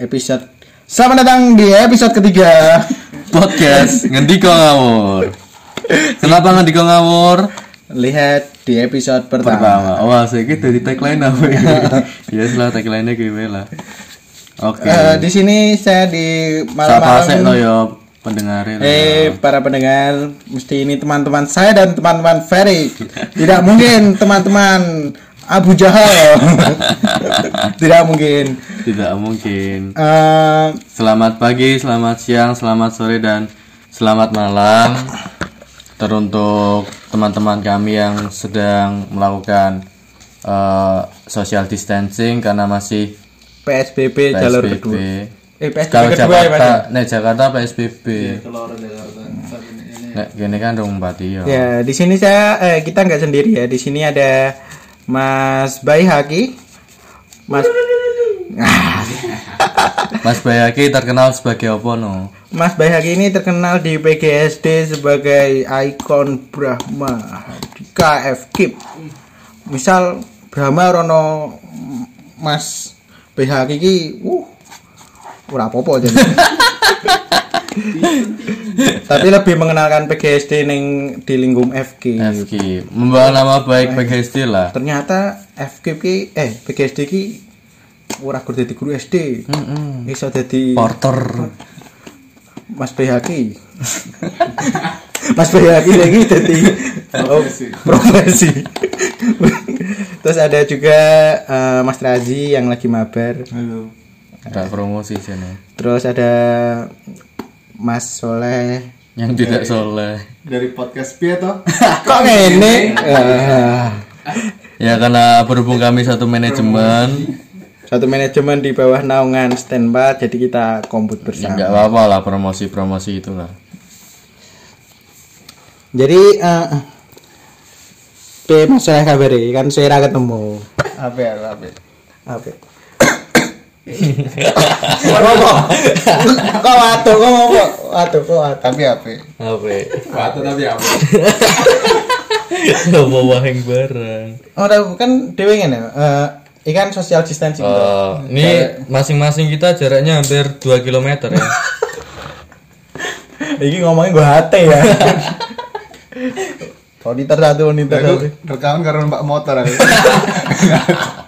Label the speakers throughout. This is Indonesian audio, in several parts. Speaker 1: episode Selamat datang di episode ketiga
Speaker 2: podcast ngendiko ngawur kenapa ngendiko ngawur
Speaker 1: Lihat di episode pertama
Speaker 2: pertama wah saya gitu di tagline apa ya ya setelah tagline nya gue lah oke
Speaker 1: Eh, Di sini saya di
Speaker 2: sapa sih lo
Speaker 1: malam-malam
Speaker 2: ya pendengarin
Speaker 1: Eh para pendengar Mesti ini teman-teman saya dan teman-teman Ferry Tidak mungkin teman-teman Abu Jahal Tidak mungkin
Speaker 2: tidak mungkin
Speaker 1: Eh,
Speaker 2: selamat pagi selamat siang selamat sore dan selamat malam teruntuk teman-teman kami yang sedang melakukan eh, social distancing karena masih
Speaker 1: PSBB, jalur
Speaker 2: PSBB.
Speaker 1: kedua Eh PSBB
Speaker 2: Kalau
Speaker 1: kedua ya Mas
Speaker 2: Jakarta, nek Jakarta PSBB. Nek gini kan dong Bupati ya.
Speaker 1: Ya, di sini saya eh, kita nggak sendiri ya. Di sini ada Mas Bayi Haki. Mas
Speaker 2: Mas Bayaki terkenal sebagai apa no?
Speaker 1: Mas Bayi Haki ini terkenal di PGSD sebagai ikon Brahma di KF Kip. Misal Brahma Rono Mas Bayi Haki ki uh ora apa-apa jadi. Tapi lebih mengenalkan PGSD ning di lingkup
Speaker 2: Nah,
Speaker 1: FK.
Speaker 2: FK. Membawa nama baik PGSD lah.
Speaker 1: ternyata FK ki eh PGSD ki ora gur dadi guru SD.
Speaker 2: Hmm.
Speaker 1: Iso dadi
Speaker 2: Porter.
Speaker 1: Mas PH ki. Mas PH ki lagi dadi oh, profesi. Terus ada juga eh, Mas Razi yang lagi mabar.
Speaker 2: Enggak promosi sini.
Speaker 1: Terus ada Mas Soleh.
Speaker 2: Yang tidak soleh.
Speaker 3: dari podcast Pia toh
Speaker 1: Ah, Kok ngene? Ah.
Speaker 2: Ya karena berhubung kami satu manajemen,
Speaker 1: Satu manajemen di bawah naungan standby jadi kita komput bersama.
Speaker 2: ya nggak apa-apa lah promosi-promosi itu lah.
Speaker 1: Jadi eh P masalah kabar ini, kan saya ra ketemu.
Speaker 3: apa ya apa
Speaker 1: Apa? Ngomong. Kok waduh, kok ngomong. Waduh, kok waduh.
Speaker 3: tapi apa
Speaker 2: Apa?
Speaker 3: batu tapi apa
Speaker 2: Enggak mau waheng bareng.
Speaker 1: Ora kan dhewe ngene. Eh ikan social distancing.
Speaker 2: Oh.
Speaker 1: toh.
Speaker 2: Eh, ini masing-masing kita jaraknya hampir 2 km ya.
Speaker 1: Iki ngomongnya gue hati ya. Monitor satu, monitor
Speaker 3: aku
Speaker 1: satu.
Speaker 3: rekaman karena mbak motor aku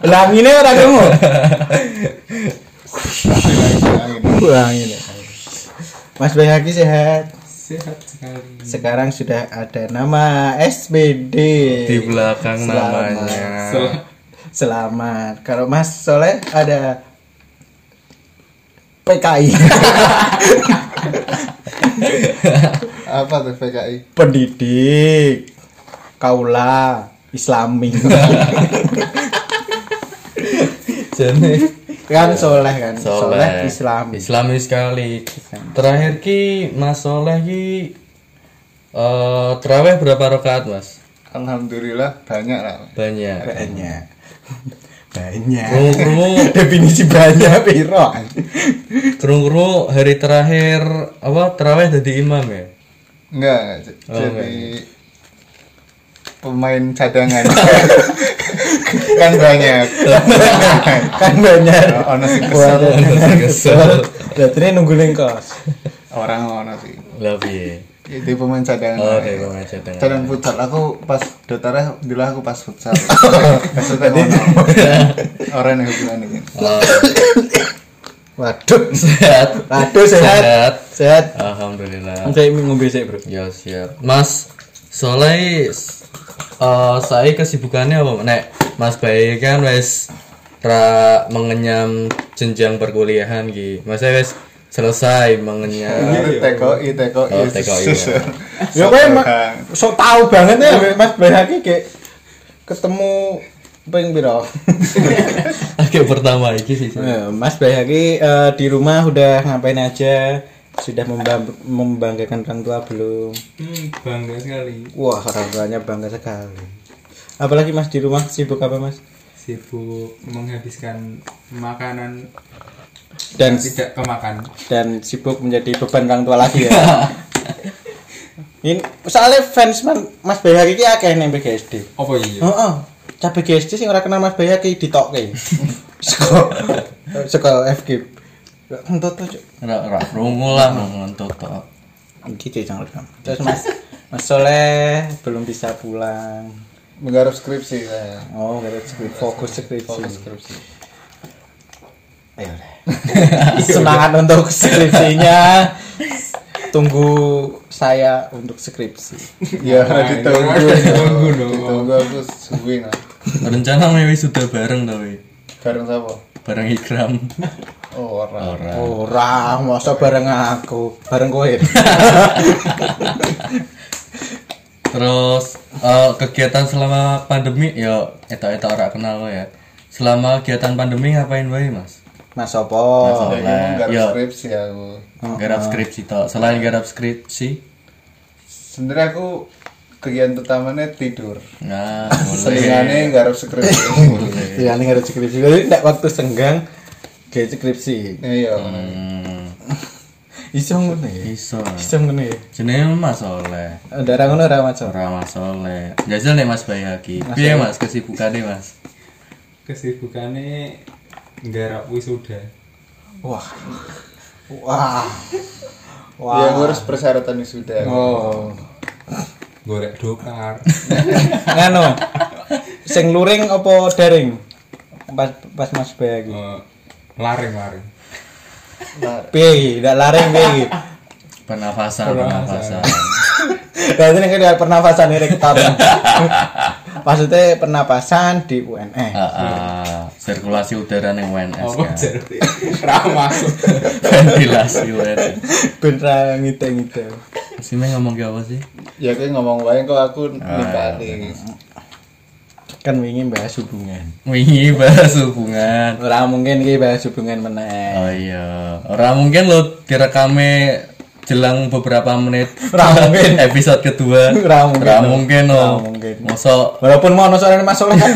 Speaker 1: Lah ngene ora kamu. Wah, ngene. Mas Bayaki sehat.
Speaker 3: sehat sekali
Speaker 1: Hmm. Sekarang sudah ada nama SBD.
Speaker 2: Di belakang
Speaker 1: Selamat.
Speaker 2: namanya.
Speaker 1: Selamat. Kalau Mas Soleh ada PKI.
Speaker 3: apa tuh PKI
Speaker 1: Pendidik. Kaula Islami. kan Soleh kan. Soleh, Islami.
Speaker 2: Islami sekali. Terakhir ki Mas Soleh ki eh terawih berapa rakaat Mas?
Speaker 3: alhamdulillah banyak lah
Speaker 2: Banyak.
Speaker 1: Banyak. Banyak.
Speaker 2: Kerungu
Speaker 1: Definisi banyak piro.
Speaker 2: kerungu hari terakhir apa terawih jadi imam ya?
Speaker 3: enggak enggak J-
Speaker 2: Oh,
Speaker 3: jadi pemain cadangan kan banyak
Speaker 1: kan banyak.
Speaker 3: ono sing
Speaker 1: Wah,
Speaker 3: kesel
Speaker 2: Kesel.
Speaker 1: Berarti nunggu ning kos.
Speaker 3: orang ono sih
Speaker 2: Love you.
Speaker 3: itu pemain cadangan
Speaker 2: Oh,
Speaker 3: aja.
Speaker 2: kayak aja tengah.
Speaker 3: cadangan futsal aku pas dotara dulu aku pas futsal maksudnya ono orang yang hubungan ini
Speaker 2: Oh,
Speaker 1: Waduh.
Speaker 2: sehat.
Speaker 1: Waduh sehat.
Speaker 2: Sehat. Nah.
Speaker 1: Sehat.
Speaker 2: Alhamdulillah.
Speaker 1: Saya ngombe sik, Bro.
Speaker 2: Ya siap. Mas Soleh eh saya kesibukannya apa, Nek? Mas Bayi kan wes ra mengenyam jenjang perkuliahan ki. Mas wes selesai mengenyam.
Speaker 3: TKI, TKI,
Speaker 2: Oh, TKI, ya.
Speaker 1: Ya kowe ma- so tau banget ya Mas Bayaki kayak ketemu ping piro.
Speaker 2: Agak pertama iki sih.
Speaker 1: Eh, Mas Bayaki eh, di rumah udah ngapain aja? Sudah membang- membanggakan orang tua belum?
Speaker 4: bangga sekali
Speaker 1: Wah, orang tuanya bangga sekali. Apalagi Mas di rumah sibuk apa Mas?
Speaker 4: sibuk menghabiskan makanan
Speaker 1: Dan
Speaker 4: tidak kemakan
Speaker 1: dan sibuk menjadi beban orang tua lagi ya. Ini soalnya fans man, Mas Bayaki ki akeh nang PGSD.
Speaker 4: apa iya
Speaker 1: Heeh. Cabe GSD sing ora kenal Mas Bayaki ditokke. Seko seko FK. Gak kentut tuh, Cuk.
Speaker 2: Ora ora rungu lah ngontot tok.
Speaker 1: Gitu jangan rekam. Terus Mas Mas Soleh belum bisa pulang.
Speaker 3: menggarap skripsi saya
Speaker 1: Oh, gara-gara skrip- fokus skripsi.
Speaker 3: fokus skripsi
Speaker 1: Ayo deh. Semangat untuk skripsinya. Tunggu saya untuk skripsi.
Speaker 3: ya
Speaker 4: Nah,
Speaker 3: ditunggu
Speaker 4: iya, ditunggu dong.
Speaker 3: ditunggu aku suwi nah
Speaker 2: Rencana mewi sudah bareng to we.
Speaker 3: bareng siapa
Speaker 2: Bareng Ikram.
Speaker 3: oh orang
Speaker 2: Ora.
Speaker 1: Ora, masa bareng aku, bareng kowe.
Speaker 2: Terus eh, kegiatan selama pandemi ya eta-eta ora kenal ya. Selama kegiatan pandemi ngapain wae, Mas?
Speaker 1: Mas Sopo.
Speaker 2: Mas Sopo.
Speaker 3: ya
Speaker 2: Oh,
Speaker 3: menggarap
Speaker 2: Iya.
Speaker 3: skripsi aku
Speaker 2: Garap skripsi tok. Selain garap skripsi,
Speaker 3: sebenarnya aku kegiatan utamanya tidur
Speaker 2: nah boleh.
Speaker 3: selingannya nggarap skripsi
Speaker 1: Iya, ini harus skripsi. Jadi nek waktu senggang kayak skripsi.
Speaker 3: iya
Speaker 2: Hmm,
Speaker 1: Iso ngono ya.
Speaker 2: iso.
Speaker 1: Iso ngono ya.
Speaker 2: Jenenge Mas Soleh.
Speaker 1: Udah ra ngono ra Mas Sopo.
Speaker 2: Ora Mas Soleh. Jajal nih Mas Bayaki. Piye Mas kesibukannya Mas?
Speaker 4: kesibukannya nggarap wisuda
Speaker 1: Wah. Wah. Wah.
Speaker 3: ya ngurus persyaratan wisuda
Speaker 1: Oh.
Speaker 4: gorek dokar
Speaker 1: Ngano. Sing luring apa daring? Pas pas Mas Bay iki.
Speaker 4: Eh, laring laring
Speaker 3: Nah,
Speaker 1: Piye iki? Ndak laring piye iki?
Speaker 2: Pernafasan, pernafasan.
Speaker 1: Berarti nek ada pernafasan ini rekam. Maksudnya pernapasan di UNS.
Speaker 2: Ah, ah, sirkulasi udara nih UNS kan.
Speaker 4: apa jadi ra masuk
Speaker 2: Ventilasi UNS.
Speaker 1: Ben ra ngite-ngite.
Speaker 2: Si Mei ngomong ke apa sih?
Speaker 3: ya aku ngomong wae kok aku
Speaker 2: Ah,
Speaker 3: nimpani
Speaker 1: Kan wingi bahas hubungan.
Speaker 2: Wingi bahas hubungan.
Speaker 1: Ora mungkin iki bahas hubungan meneh.
Speaker 2: Oh iya, orang mungkin lo direkame jelang beberapa menit
Speaker 1: Ora mungkin.
Speaker 2: episode kedua
Speaker 1: Ora mungkin,
Speaker 2: Ora
Speaker 1: Lo.
Speaker 2: mungkin
Speaker 1: Ora
Speaker 2: lo
Speaker 1: mungkin.
Speaker 2: mosok
Speaker 1: Walaupun mau ono soalnya Mas Soleh kan.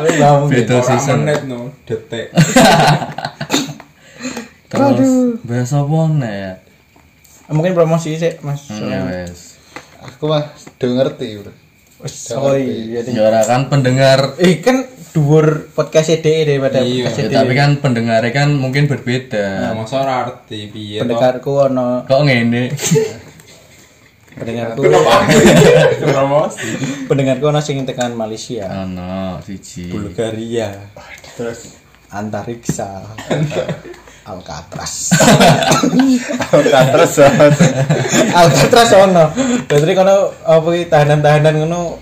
Speaker 1: Ora mungkin.
Speaker 2: beda
Speaker 4: orang
Speaker 2: season
Speaker 4: menit no detik
Speaker 2: terus bahas apa nih
Speaker 1: Mungkin promosi sih Mas
Speaker 2: ya
Speaker 1: Soleh.
Speaker 2: wes
Speaker 3: aku mah udah ngerti bro
Speaker 1: Wes, Oh iya.
Speaker 2: Ya ora kan pendengar
Speaker 1: Eh kan dhuwur podcast DE daripada podcast E
Speaker 2: ya,
Speaker 1: DE.
Speaker 2: tapi kan pendengarnya kan mungkin berbeda.
Speaker 4: nah, masa ora
Speaker 1: Iya,
Speaker 4: arti piye toh
Speaker 1: Pendengarku ono
Speaker 2: Kok ngene?
Speaker 1: pendengarku
Speaker 4: promosi
Speaker 1: pendengarku ono sing tekan Malaysia,
Speaker 2: Ono siji.
Speaker 1: Bulgaria,
Speaker 3: terus
Speaker 1: antariksa Alcatraz
Speaker 3: Nah, terus sama-
Speaker 1: Alcatraz ono berarti kono apa ki tahanan-tahanan ngono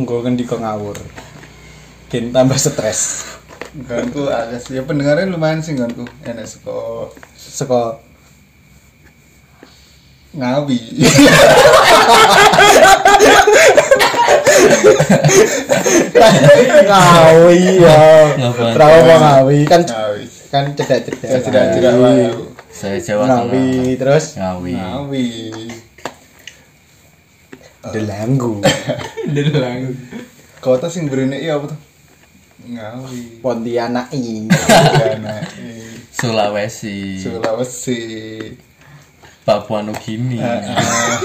Speaker 1: nggo ngendika ngawur gen tambah stres
Speaker 3: Gonku alias ya pendengarnya lumayan sih gonku enak suka
Speaker 1: saka
Speaker 3: ngawi
Speaker 1: ngawi ya
Speaker 2: Ngapain?
Speaker 1: trauma ngawi kan
Speaker 3: ngawi
Speaker 1: kan cedak-cedak
Speaker 3: ya tidak tidak aku
Speaker 2: Saya Jawa Tengah.
Speaker 1: ngawi terus
Speaker 2: Ngawi.
Speaker 3: ngawi
Speaker 1: delanggu
Speaker 4: delang
Speaker 3: kota sing berene iya apa tuh ngawi
Speaker 1: Pontianak i
Speaker 3: Pontianak eh,
Speaker 2: Sulawesi,
Speaker 3: Sulawesi
Speaker 2: Papua
Speaker 1: Eh,
Speaker 2: Nugini.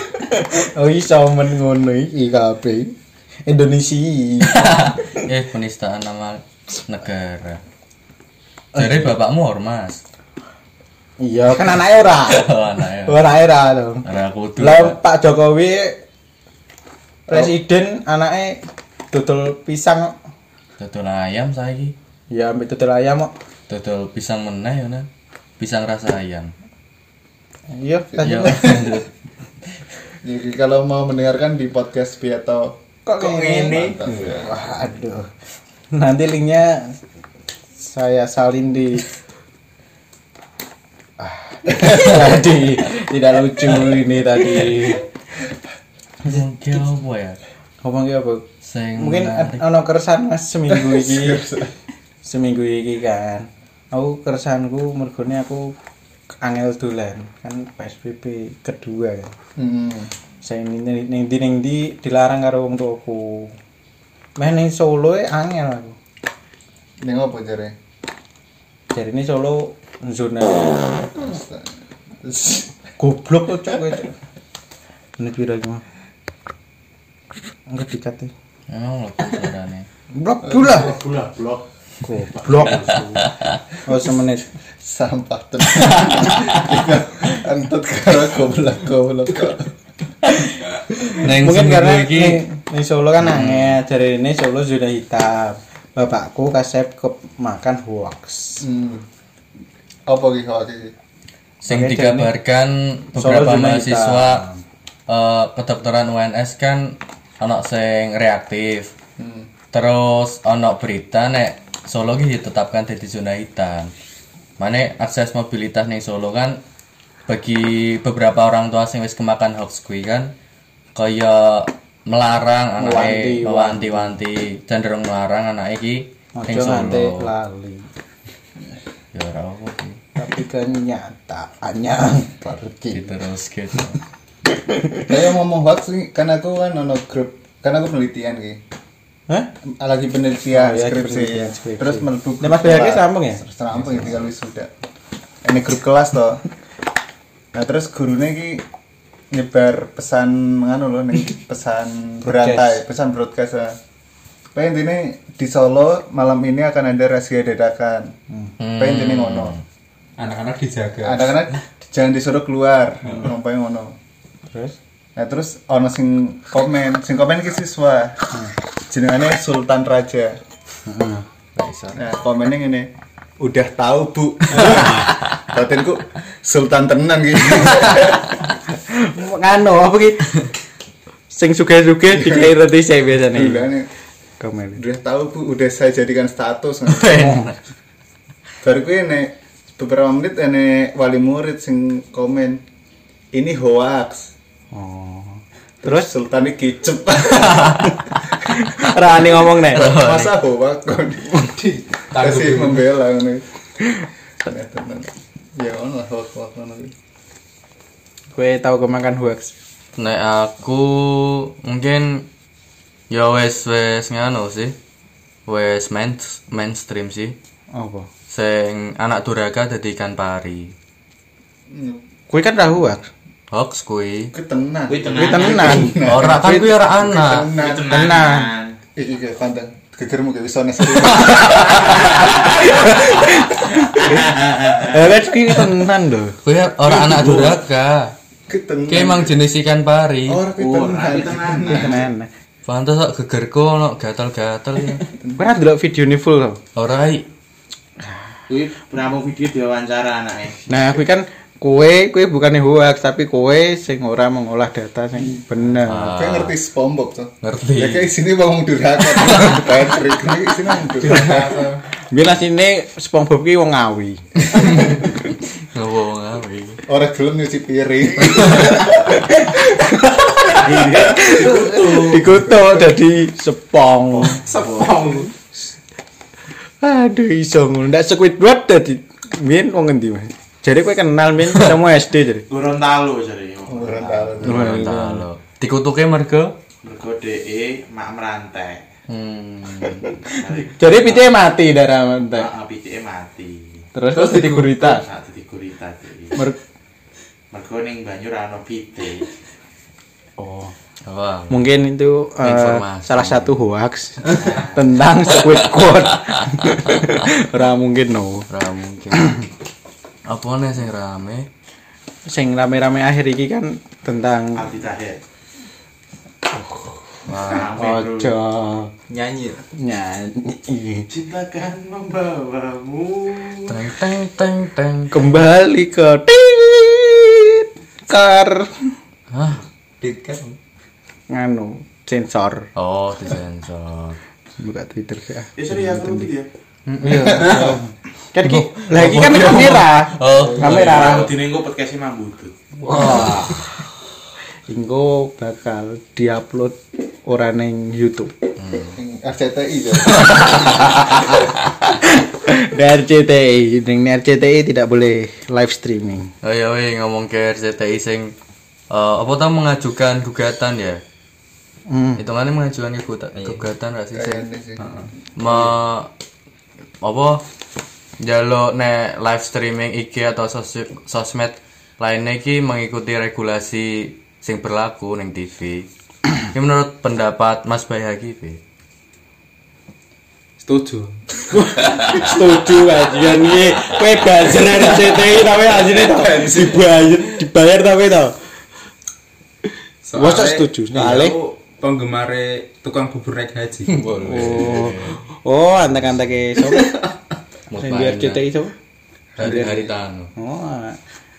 Speaker 1: oh iso men ngono iki kabeh Indonesia
Speaker 2: eh penistaan nama negara. Dari bapakmu ormas.
Speaker 1: iya kan anaknya ora
Speaker 2: Oh, anak ya.
Speaker 1: ora era dong
Speaker 2: Ora kudu.
Speaker 1: Lah Pak Jokowi presiden anaknya tutul pisang
Speaker 2: Dodol ayam saiki.
Speaker 1: ya ambil tutul ayam kok.
Speaker 2: Dodol pisang meneh ya, Nan. Pisang rasa ayam. Ya,
Speaker 1: Iya,
Speaker 2: Yo.
Speaker 1: lanjut.
Speaker 3: jadi kalau mau mendengarkan di podcast Piato
Speaker 1: Kok ngene?
Speaker 3: mantap ya.
Speaker 1: Waduh. Nanti linknya saya salin di Ah, tadi tidak lucu ini tadi
Speaker 2: Mungkin apa ya?
Speaker 1: ngomong apa
Speaker 2: Sing
Speaker 1: mungkin
Speaker 2: menarik.
Speaker 1: ono keresan mas seminggu ini seminggu ini kan aku keresanku mergone aku angel dolan kan PSBB kedua kan
Speaker 3: hmm.
Speaker 1: saya ini ning di ning di dilarang karo wong tuaku meh ning Solo e angel aku
Speaker 3: ini apa jare
Speaker 1: dari ini Solo zona
Speaker 3: Terus-
Speaker 1: goblok kok cok kowe, cok. ini pira iki mah enggak dikat e.
Speaker 2: Emang lho suarane.
Speaker 1: blok dulu
Speaker 4: pula blok
Speaker 1: Goblok. Oh, semenit.
Speaker 3: sampah tenan. Entut karo goblok goblok kok.
Speaker 2: Neng
Speaker 1: Mungkin
Speaker 2: seminggu
Speaker 1: karena
Speaker 2: iki
Speaker 1: ini, ini Solo kan aneh, dari ini Solo sudah hitam. Bapakku kasep ke makan hoax.
Speaker 3: Hmm. Apa ki kok iki?
Speaker 2: sing
Speaker 1: Oke,
Speaker 2: dikabarkan
Speaker 1: Solo
Speaker 2: beberapa
Speaker 1: zona
Speaker 2: mahasiswa eh, kedokteran UNS kan ono sing reaktif.
Speaker 1: Hmm.
Speaker 2: Terus ono berita nek Solo ki ditetapkan jadi zona hitam. Mane akses mobilitas ning Solo kan bagi beberapa orang tua sing wis kemakan hoax kuwi kan kaya melarang anake
Speaker 1: Mewanti-wanti.
Speaker 2: mewanti-wanti cenderung melarang anak iki ning
Speaker 1: Ojo nanti
Speaker 2: Solo.
Speaker 1: lali.
Speaker 2: Ya ora apa sih.
Speaker 1: Tapi kenyataannya pergi.
Speaker 2: Terus gitu.
Speaker 3: Kayak ngomong hoax sih, kan aku kan ono grup, kan aku penelitian ki.
Speaker 1: Hah?
Speaker 3: Lagi
Speaker 1: Oh,
Speaker 3: penelitian
Speaker 1: iya,
Speaker 3: skripsi,
Speaker 1: penelitian, skripsi.
Speaker 3: terus melebu.
Speaker 1: Nah, Mas Bayaki sambung ya?
Speaker 3: Terus sambung ya tinggal wisuda. Ini grup kelas toh. Nah terus gurunya ki nyebar pesan nganu loh nih pesan berantai pesan broadcast lah. Pengen ini di Solo malam ini akan ada razia dadakan.
Speaker 1: Hmm.
Speaker 3: Pengen ini ngono.
Speaker 4: Anak-anak dijaga.
Speaker 3: Anak-anak jangan disuruh keluar.
Speaker 1: Hmm.
Speaker 3: Ngomongin ngono.
Speaker 1: Terus
Speaker 3: Nah terus ono sing komen, sing komen ki siswa. Jenengane Sultan Raja. Nah, komennya ngene. Udah tahu, Bu. Batinku Sultan tenan gitu.
Speaker 1: ngano apa ki? Sing suge-suge dikai roti saya biasanya.
Speaker 3: Bilangnya,
Speaker 1: Kameli.
Speaker 3: udah tahu, Bu, udah saya jadikan status. Nah. Baru gue nek beberapa menit ene wali murid sing komen. Ini hoax.
Speaker 1: Oh.
Speaker 3: Terus Sultan iki kicep.
Speaker 1: Rani ngomong nih.
Speaker 3: Masa hoax kon di kasih membela ngene. Nah, tenan. Ya ono lah hoax-hoax ngono iki.
Speaker 1: Gue tahu kemakan hoax.
Speaker 2: Nek aku mungkin ya wes wes nganu sih. Wes main mainstream sih.
Speaker 1: Apa?
Speaker 2: Sing anak duraka dadi ikan pari.
Speaker 3: Hmm,
Speaker 1: Gue kan tahu hoax.
Speaker 2: Hoax kui.
Speaker 3: Gue tenan.
Speaker 4: Kuwi
Speaker 1: Gue
Speaker 4: tenang.
Speaker 1: tenan.
Speaker 2: Ora kan kui ora anak.
Speaker 3: Tenan.
Speaker 1: Tenan.
Speaker 3: Iki kayak pandang gegermu kayak bisa nes.
Speaker 1: Eh, kan gue tenan loh.
Speaker 2: Kui ora anak duraka.
Speaker 3: Ketengan.
Speaker 2: Ki emang jenis ikan pari.
Speaker 3: Orang ketengan.
Speaker 1: Gue tenan.
Speaker 2: Pantes kok gegerku ono gatel-gatel ya.
Speaker 1: Gue kan dulu video ini full loh.
Speaker 2: Ora i.
Speaker 5: Kuwi pramu video diwawancara anake.
Speaker 1: Nah, gue kan kue kue bukannya hoax tapi kue sing ora mengolah data sing bener.
Speaker 3: Kayak ngerti SpongeBob tuh. Ya
Speaker 2: Ngerti.
Speaker 3: kayak sini mau durhaka. Patrick ini sini mau durhaka.
Speaker 1: Bila sini SpongeBob ki wong ngawi.
Speaker 2: Ngowo ngawi.
Speaker 3: Orang gelem nyuci piring.
Speaker 1: Iku tuh jadi sepong.
Speaker 4: Sepong.
Speaker 1: Aduh iso ngono. Ndak Squidward dadi Min wong ngendi, Mas? Jadi kowe kenal Min ketemu SD jadi.
Speaker 5: Gorontalo jare.
Speaker 3: Orang tahu.
Speaker 1: Iya.
Speaker 2: Ora Dikutuke mergo
Speaker 5: Mergo DE mak merantek.
Speaker 2: hmm.
Speaker 1: Jadi pite mati darah mantek.
Speaker 5: Mak apike mati.
Speaker 1: Terus terus jadi gurita.
Speaker 5: Saat di gurita DE.
Speaker 1: Mer-
Speaker 5: Mergo ning banyu ra ono pite.
Speaker 1: Oh.
Speaker 2: Wah.
Speaker 1: mungkin itu eh,
Speaker 2: Informasi.
Speaker 1: salah satu hoax tentang Squidward. Ora mungkin no.
Speaker 2: Ra mungkin. Apa nih sing rame?
Speaker 1: Sing rame-rame akhir iki kan tentang
Speaker 5: Aldi Tahir.
Speaker 1: ojo
Speaker 4: Nyanyi.
Speaker 1: nyanyi
Speaker 5: Cinta kan membawamu.
Speaker 2: Teng teng teng teng.
Speaker 1: kembali ke tit kar
Speaker 2: Hah?
Speaker 4: Dit kan.
Speaker 1: nganu sensor
Speaker 2: Oh, disensor.
Speaker 1: buka Twitter ya.
Speaker 5: Ya Eh, sorry aku gitu ya.
Speaker 1: kan ki lagi kan kamera
Speaker 2: Oh,
Speaker 1: kamera
Speaker 5: Dine engko podcast-e mambutut.
Speaker 1: Inggo bakal diupload ora neng YouTube
Speaker 3: RCTI ya.
Speaker 1: di RCTI neng RCTI tidak boleh live streaming
Speaker 2: oh ya weh ngomong ke RCTI sing eh, apa tau mengajukan gugatan ya?
Speaker 1: hmm.
Speaker 2: Hitungannya mengajukan gugatan, gugatan gak sih sing
Speaker 3: Ini sih.
Speaker 2: me apa jaluk nek live streaming IG atau sos- sosmed lainnya ki mengikuti regulasi sing berlaku neng TV. Ini menurut pendapat Mas Bayhaki, Pi?
Speaker 4: Setuju.
Speaker 1: setuju anjiran ini kue banjir ada CTI tapi anjirnya tau dibayar dibayar tapi tau Masa setuju? Soalnya-
Speaker 4: penggemar iya, tukang bubur naik haji.
Speaker 1: oh oh antek-antek ke sopo Sing biar CTI sopo
Speaker 2: Hari hari tanu.
Speaker 1: oh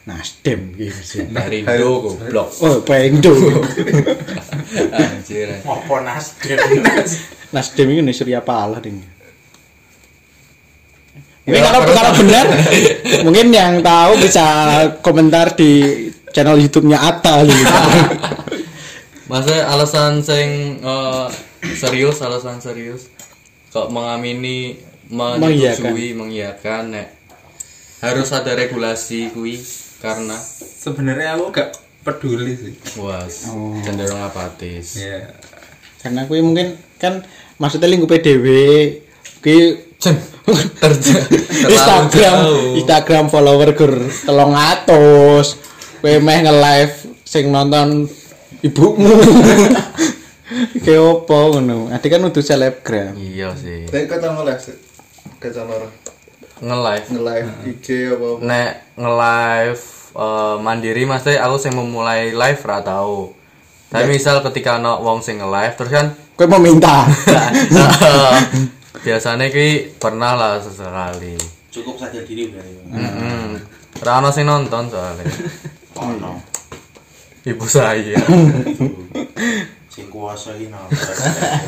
Speaker 1: Nasdem gitu sih
Speaker 2: Hari Indo goblok.
Speaker 1: oh Pendo
Speaker 2: Anjir.
Speaker 5: Apa nasdem?
Speaker 1: Nasdem ini Surya Paloh Ya. nih. Mungkin kalau, kalau benar, mungkin yang tahu bisa komentar di channel YouTube-nya Atta gitu.
Speaker 2: Masa alasan sing eh, serius, alasan serius kok mengamini menyetujui mengiyakan nek harus ada regulasi kui karena
Speaker 4: Sebenarnya aku gak peduli sih.
Speaker 2: was cenderung apatis.
Speaker 4: Iya.
Speaker 1: Karena gue mungkin kan maksudnya lingkup PDW, gue
Speaker 2: Terjadi
Speaker 1: Instagram, Instagram follower gur telung atus, gue meh nge-live sing nonton ibumu. Kayak apa ngono? Adik kan udah selebgram.
Speaker 2: Iya sih.
Speaker 3: Tapi kau tau nge-live sih? Kau tau nge-live?
Speaker 2: Nge-live
Speaker 3: Nge-live IG apa?
Speaker 2: nek nge-live eh, mandiri maksudnya aku sing memulai live ra tau. Tapi misal ketika ana wong sing nge-live terus kan
Speaker 1: Gue mau minta.
Speaker 2: Nah, biasanya ki pernah lah sesekali.
Speaker 5: Cukup saja diri berarti.
Speaker 2: Mm-mm. Rano sing nonton soalnya.
Speaker 5: Oh no.
Speaker 2: Ibu saya.
Speaker 5: Sing kuasa iki no.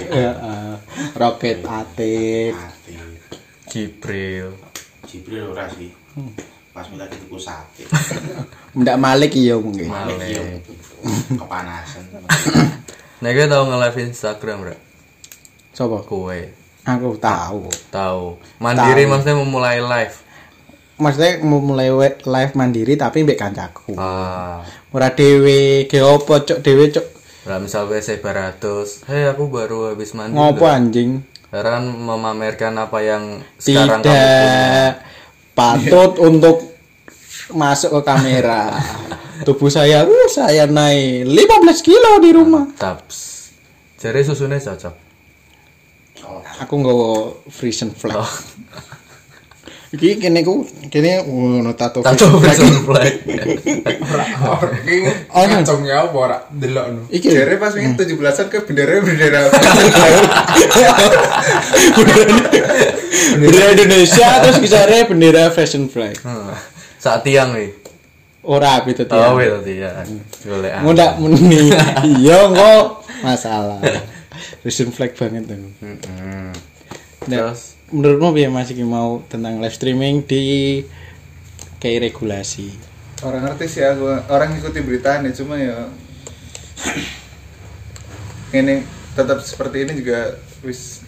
Speaker 1: Ya, eh, roket atik
Speaker 5: Ati.
Speaker 2: Jibril.
Speaker 5: Jibril ora sih.
Speaker 1: Hmm.
Speaker 5: Pas minta tuku sate.
Speaker 1: ndak malik iya mungkin
Speaker 5: Malik
Speaker 2: Malik.
Speaker 5: yo. Kepanasan.
Speaker 2: Nek gue tau nge-live Instagram ra?
Speaker 1: coba
Speaker 2: Kowe
Speaker 1: aku tahu
Speaker 2: tau. Mandiri
Speaker 1: Tau.
Speaker 2: maksudnya memulai live.
Speaker 1: maksudnya mau mulai we- live mandiri tapi mbek kancaku
Speaker 2: Ah.
Speaker 1: ora dhewe ge opo cok dhewe cok
Speaker 2: Lah misal gue sebaratus, hei aku baru habis mandi.
Speaker 1: ngopo
Speaker 2: loh."
Speaker 1: anjing
Speaker 2: Heran memamerkan apa yang sekarang kamu punya.
Speaker 1: tidak patut untuk masuk ke kamera tubuh saya uh saya naik 15 kilo di rumah
Speaker 2: Taps. Jadi susunya cocok.
Speaker 1: aku nggak frisian flag
Speaker 2: Oh.
Speaker 1: iki kene ku kene ngono tato
Speaker 2: Tato prison flag.
Speaker 1: Oh, no.
Speaker 4: Kacongnya apa ora? Delok no.
Speaker 1: iki
Speaker 3: Jere pas pengen 17-an ke benderanya bendera apa?
Speaker 1: bendera Indonesia terus kisahnya bendera fashion flag
Speaker 2: Hmm. Saat tiang nih.
Speaker 1: ora api tadi
Speaker 2: Oh, iya tadi ya. Golek.
Speaker 1: mau ndak muni iya kok masalah fashion flag banget tuh
Speaker 2: Heeh.
Speaker 1: nah,
Speaker 2: Hmm. Terus?
Speaker 1: menurutmu piye Mas iki mau tentang live streaming di kayak regulasi
Speaker 3: Orang ngerti sih aku, orang ngikuti beritanya cuma ya ini tetap seperti ini juga wis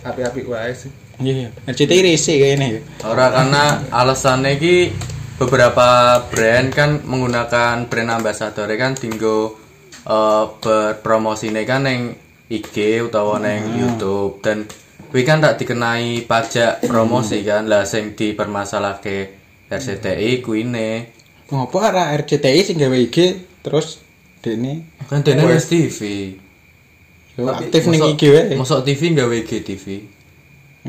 Speaker 3: api-api wae sih.
Speaker 1: iya iya RCTI rese kayaknya ya
Speaker 2: Ora karena alasannya ki beberapa brand kan menggunakan brand ambassador kan tinggo eh berpromosine kan neng IG utawa neng
Speaker 1: Hmm.
Speaker 2: YouTube dan kuwi kan tak dikenai
Speaker 1: Hmm.
Speaker 2: pajak promosi kan lah sing dipermasalahke RCTI kuine
Speaker 1: ngopo arah RCTI sing gawe IG terus dene
Speaker 2: kan dene wis TV
Speaker 1: yo
Speaker 2: Tapi
Speaker 1: aktif ning
Speaker 2: mosok-
Speaker 1: IG wae
Speaker 2: mosok TV gawe GTV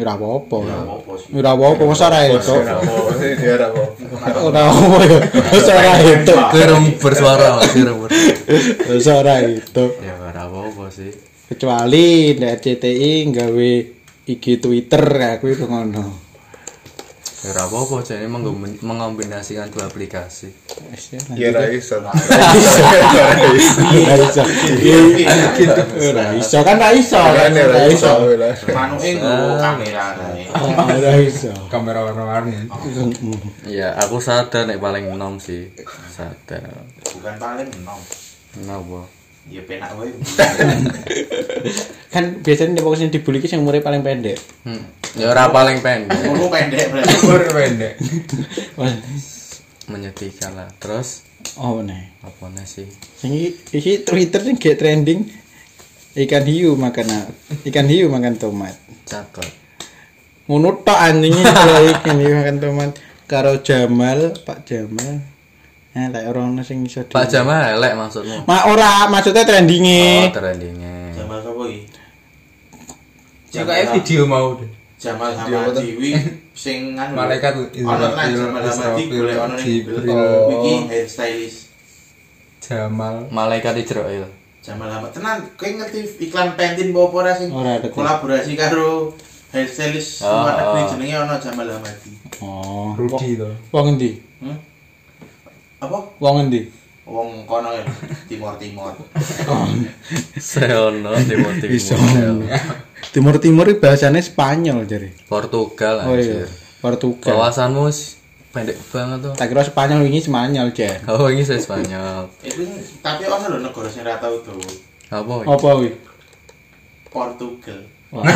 Speaker 1: ora apa-apa
Speaker 5: Apa sih?
Speaker 1: ora apa-apa masa ora itu
Speaker 3: Oh, sih dia ora apa.
Speaker 1: ora apa ya masa ora itu
Speaker 2: gerung bersuara mas gerung bersuara
Speaker 1: masa ora itu
Speaker 2: ya ora apa-apa sih
Speaker 1: kecuali ndak CTI nggawe IG Twitter aku itu ngono
Speaker 2: Ya ora apa-apa jadi menggomb- mengombinasikan dua aplikasi.
Speaker 1: Wes, ya, lanjut.
Speaker 3: Ya ra iso.
Speaker 1: Ora iso. Ora iso kan ora iso.
Speaker 3: Kan ya ra
Speaker 1: Ora
Speaker 3: iso.
Speaker 1: iso.
Speaker 3: lah.
Speaker 5: Manuke nggo kamera kae.
Speaker 1: Ora iso.
Speaker 4: Kamera warna-warni.
Speaker 2: Ya, aku sadar nek paling enom sih. Sadar.
Speaker 5: Bukan paling enom.
Speaker 2: Kenapa?
Speaker 5: Ya penak wae.
Speaker 1: Kan biasanya di fokusnya dibully ki yang umurnya paling pendek.
Speaker 2: Hmm. Ya ora paling pendek.
Speaker 5: Ngono pendek berarti.
Speaker 4: Umur pendek.
Speaker 1: Wah,
Speaker 2: Menyedihkan lah. Terus
Speaker 1: Oh ne.
Speaker 2: apa nih sih?
Speaker 1: Sing iki- iki Twitter sing gak trending. Ikan hiu makan a- ikan hiu makan tomat.
Speaker 2: Cakep.
Speaker 1: Ngono tok anjingnya kalau ikan hiu makan tomat karo Jamal, Pak Jamal. Nah, lek ora ono sing iso di-
Speaker 2: Pak Jamal elek maksudmu?
Speaker 1: Ma ora maksudnya trendinge.
Speaker 2: Oh, trendingnya.
Speaker 5: Gambar sapa iki?
Speaker 4: Cek video mau deh.
Speaker 5: Jamal
Speaker 3: Dia apa tuh?
Speaker 5: Hamadi wi sing anu
Speaker 4: Malaikat
Speaker 5: ono
Speaker 4: Israfil,
Speaker 5: nang Jamal Hamadi
Speaker 4: Israfil,
Speaker 5: golek ono ning
Speaker 4: Jibril.
Speaker 5: oh. iki hairstylist
Speaker 4: Jamal
Speaker 2: malaikat ya. Israel
Speaker 5: Jamal Hamadi tenan kowe ngerti iklan Pantene apa ora sing
Speaker 1: Ora ngerti.
Speaker 5: kolaborasi karo hairstylist
Speaker 2: Oh,
Speaker 5: luar negeri
Speaker 2: oh.
Speaker 5: jenenge ono Jamal Hamadi
Speaker 1: Oh.
Speaker 4: Rudi to.
Speaker 1: Wong endi?
Speaker 5: hmm? apa
Speaker 1: Wong endi?
Speaker 5: wong kono ya timor timor
Speaker 2: Seono Timur
Speaker 1: Bisa. Timur
Speaker 2: Timur
Speaker 1: Timur Iya. ini bahasanya Spanyol jadi.
Speaker 2: Portugal
Speaker 1: Oh iya.
Speaker 2: anjir
Speaker 1: Portugal.
Speaker 2: kawasanmu pendek banget tuh
Speaker 1: Tak kira Spanyol ini Spanyol jar.
Speaker 2: oh ini saya Spanyol
Speaker 5: itu tapi ono lho negara sing ora tau tuh
Speaker 2: apa ini?
Speaker 1: Apa wi?
Speaker 5: Portugal
Speaker 1: Wah. Wah.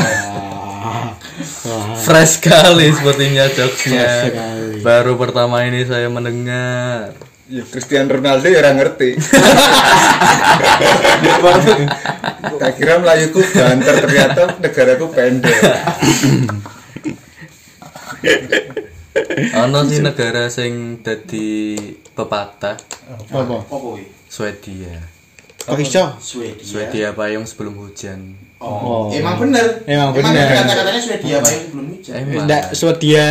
Speaker 2: Oh. fresh sekali sepertinya jokesnya
Speaker 1: Fresh sekali.
Speaker 2: baru pertama ini saya mendengar
Speaker 3: Ya Cristiano Ronaldo ya orang ngerti. Tak kira Melayuku banter ternyata negaraku pendek.
Speaker 2: ono sih negara sing dadi pepatah
Speaker 1: Apa?
Speaker 5: apa kuwi
Speaker 2: Swedia
Speaker 1: Kok iso?
Speaker 5: Swedia
Speaker 1: Ya.
Speaker 2: Swedia payung sebelum hujan
Speaker 5: Oh. Emang bener.
Speaker 1: Emang bener.
Speaker 5: Kata-katanya Swedia apa yang belum Eh, hujan.
Speaker 2: emang
Speaker 1: Ya. Ndak Swedia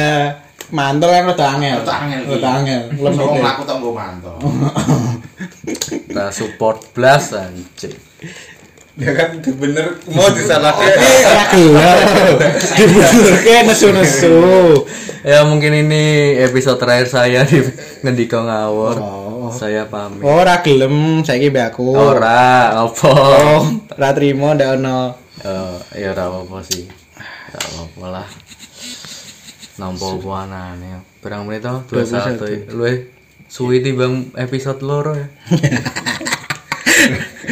Speaker 1: mantel kan rada angel.
Speaker 5: Rada angel, iya.
Speaker 1: Rada angel.
Speaker 5: Belum
Speaker 1: Lembut, ya.
Speaker 5: aku tak nggo mantau.
Speaker 2: kita support blas anjing
Speaker 3: Ya kan bener mau disalahkan.
Speaker 1: Eh, Ora gelem. Dibutuhke nesu-nesu.
Speaker 2: ya mungkin ini episode terakhir saya di Ngendika Ngawur
Speaker 1: Oh.
Speaker 2: saya pamit
Speaker 1: Ora gelem saiki mbak aku.
Speaker 2: ora apa
Speaker 1: Oh. Ora trimo ndak ono.
Speaker 2: Eh, ya ora apa sih ora apa lah nampa apa anane berang menit toh 21 luwe ya? suwi timbang episode loro ya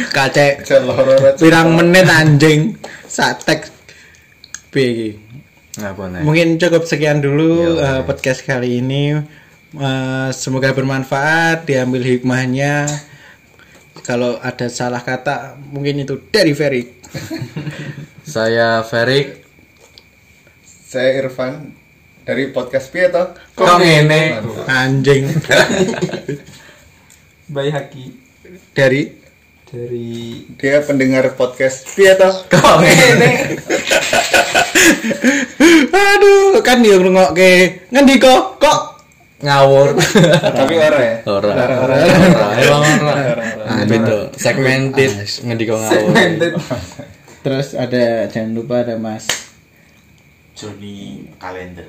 Speaker 1: Kacek
Speaker 3: Celoro
Speaker 1: pirang menit anjing. Sak tek piye iki?
Speaker 2: ngapa nih
Speaker 1: Mungkin cukup sekian dulu eh, podcast kali ini. Eh, semoga bermanfaat, diambil hikmahnya. Kalau ada salah kata, mungkin itu dari Ferry.
Speaker 2: saya Ferik
Speaker 3: Saya Irfan dari podcast Pia toh.
Speaker 2: kok ngene
Speaker 1: Anjing
Speaker 4: Bayi Haki
Speaker 1: dari
Speaker 4: dari
Speaker 3: Dia pendengar podcast Pia toh.
Speaker 2: kok ngene
Speaker 1: Aduh, kan dia ngengokke. Ngendi kok? Kok
Speaker 2: ngawur
Speaker 3: Tapi ora ya.
Speaker 2: ora ora ora emang ora Ah, beda segmented Ngendika Ngawur
Speaker 1: Terus ada jangan lupa ada Mas
Speaker 5: Joni kalender.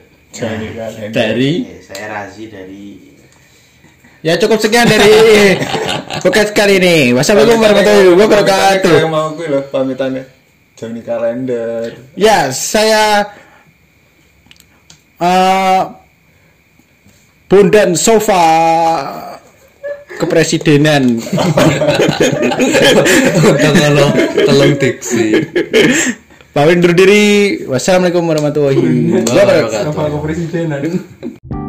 Speaker 1: dari
Speaker 5: Eh, saya Razi dari
Speaker 1: Ya cukup sekian dari podcast kali ini. Wassalamualaikum warahmatullahi wabarakatuh.
Speaker 3: Yang mau gue loh pamitannya. Johnny Kalender.
Speaker 1: Ya, saya eh Bondan Sofa kepresidenan.
Speaker 2: kalau telung diksi
Speaker 1: Pamit undur diri. Wassalamualaikum warahmatullahi wabarakatuh.
Speaker 2: Wabarakatuh.
Speaker 4: Bapak Kepresidenan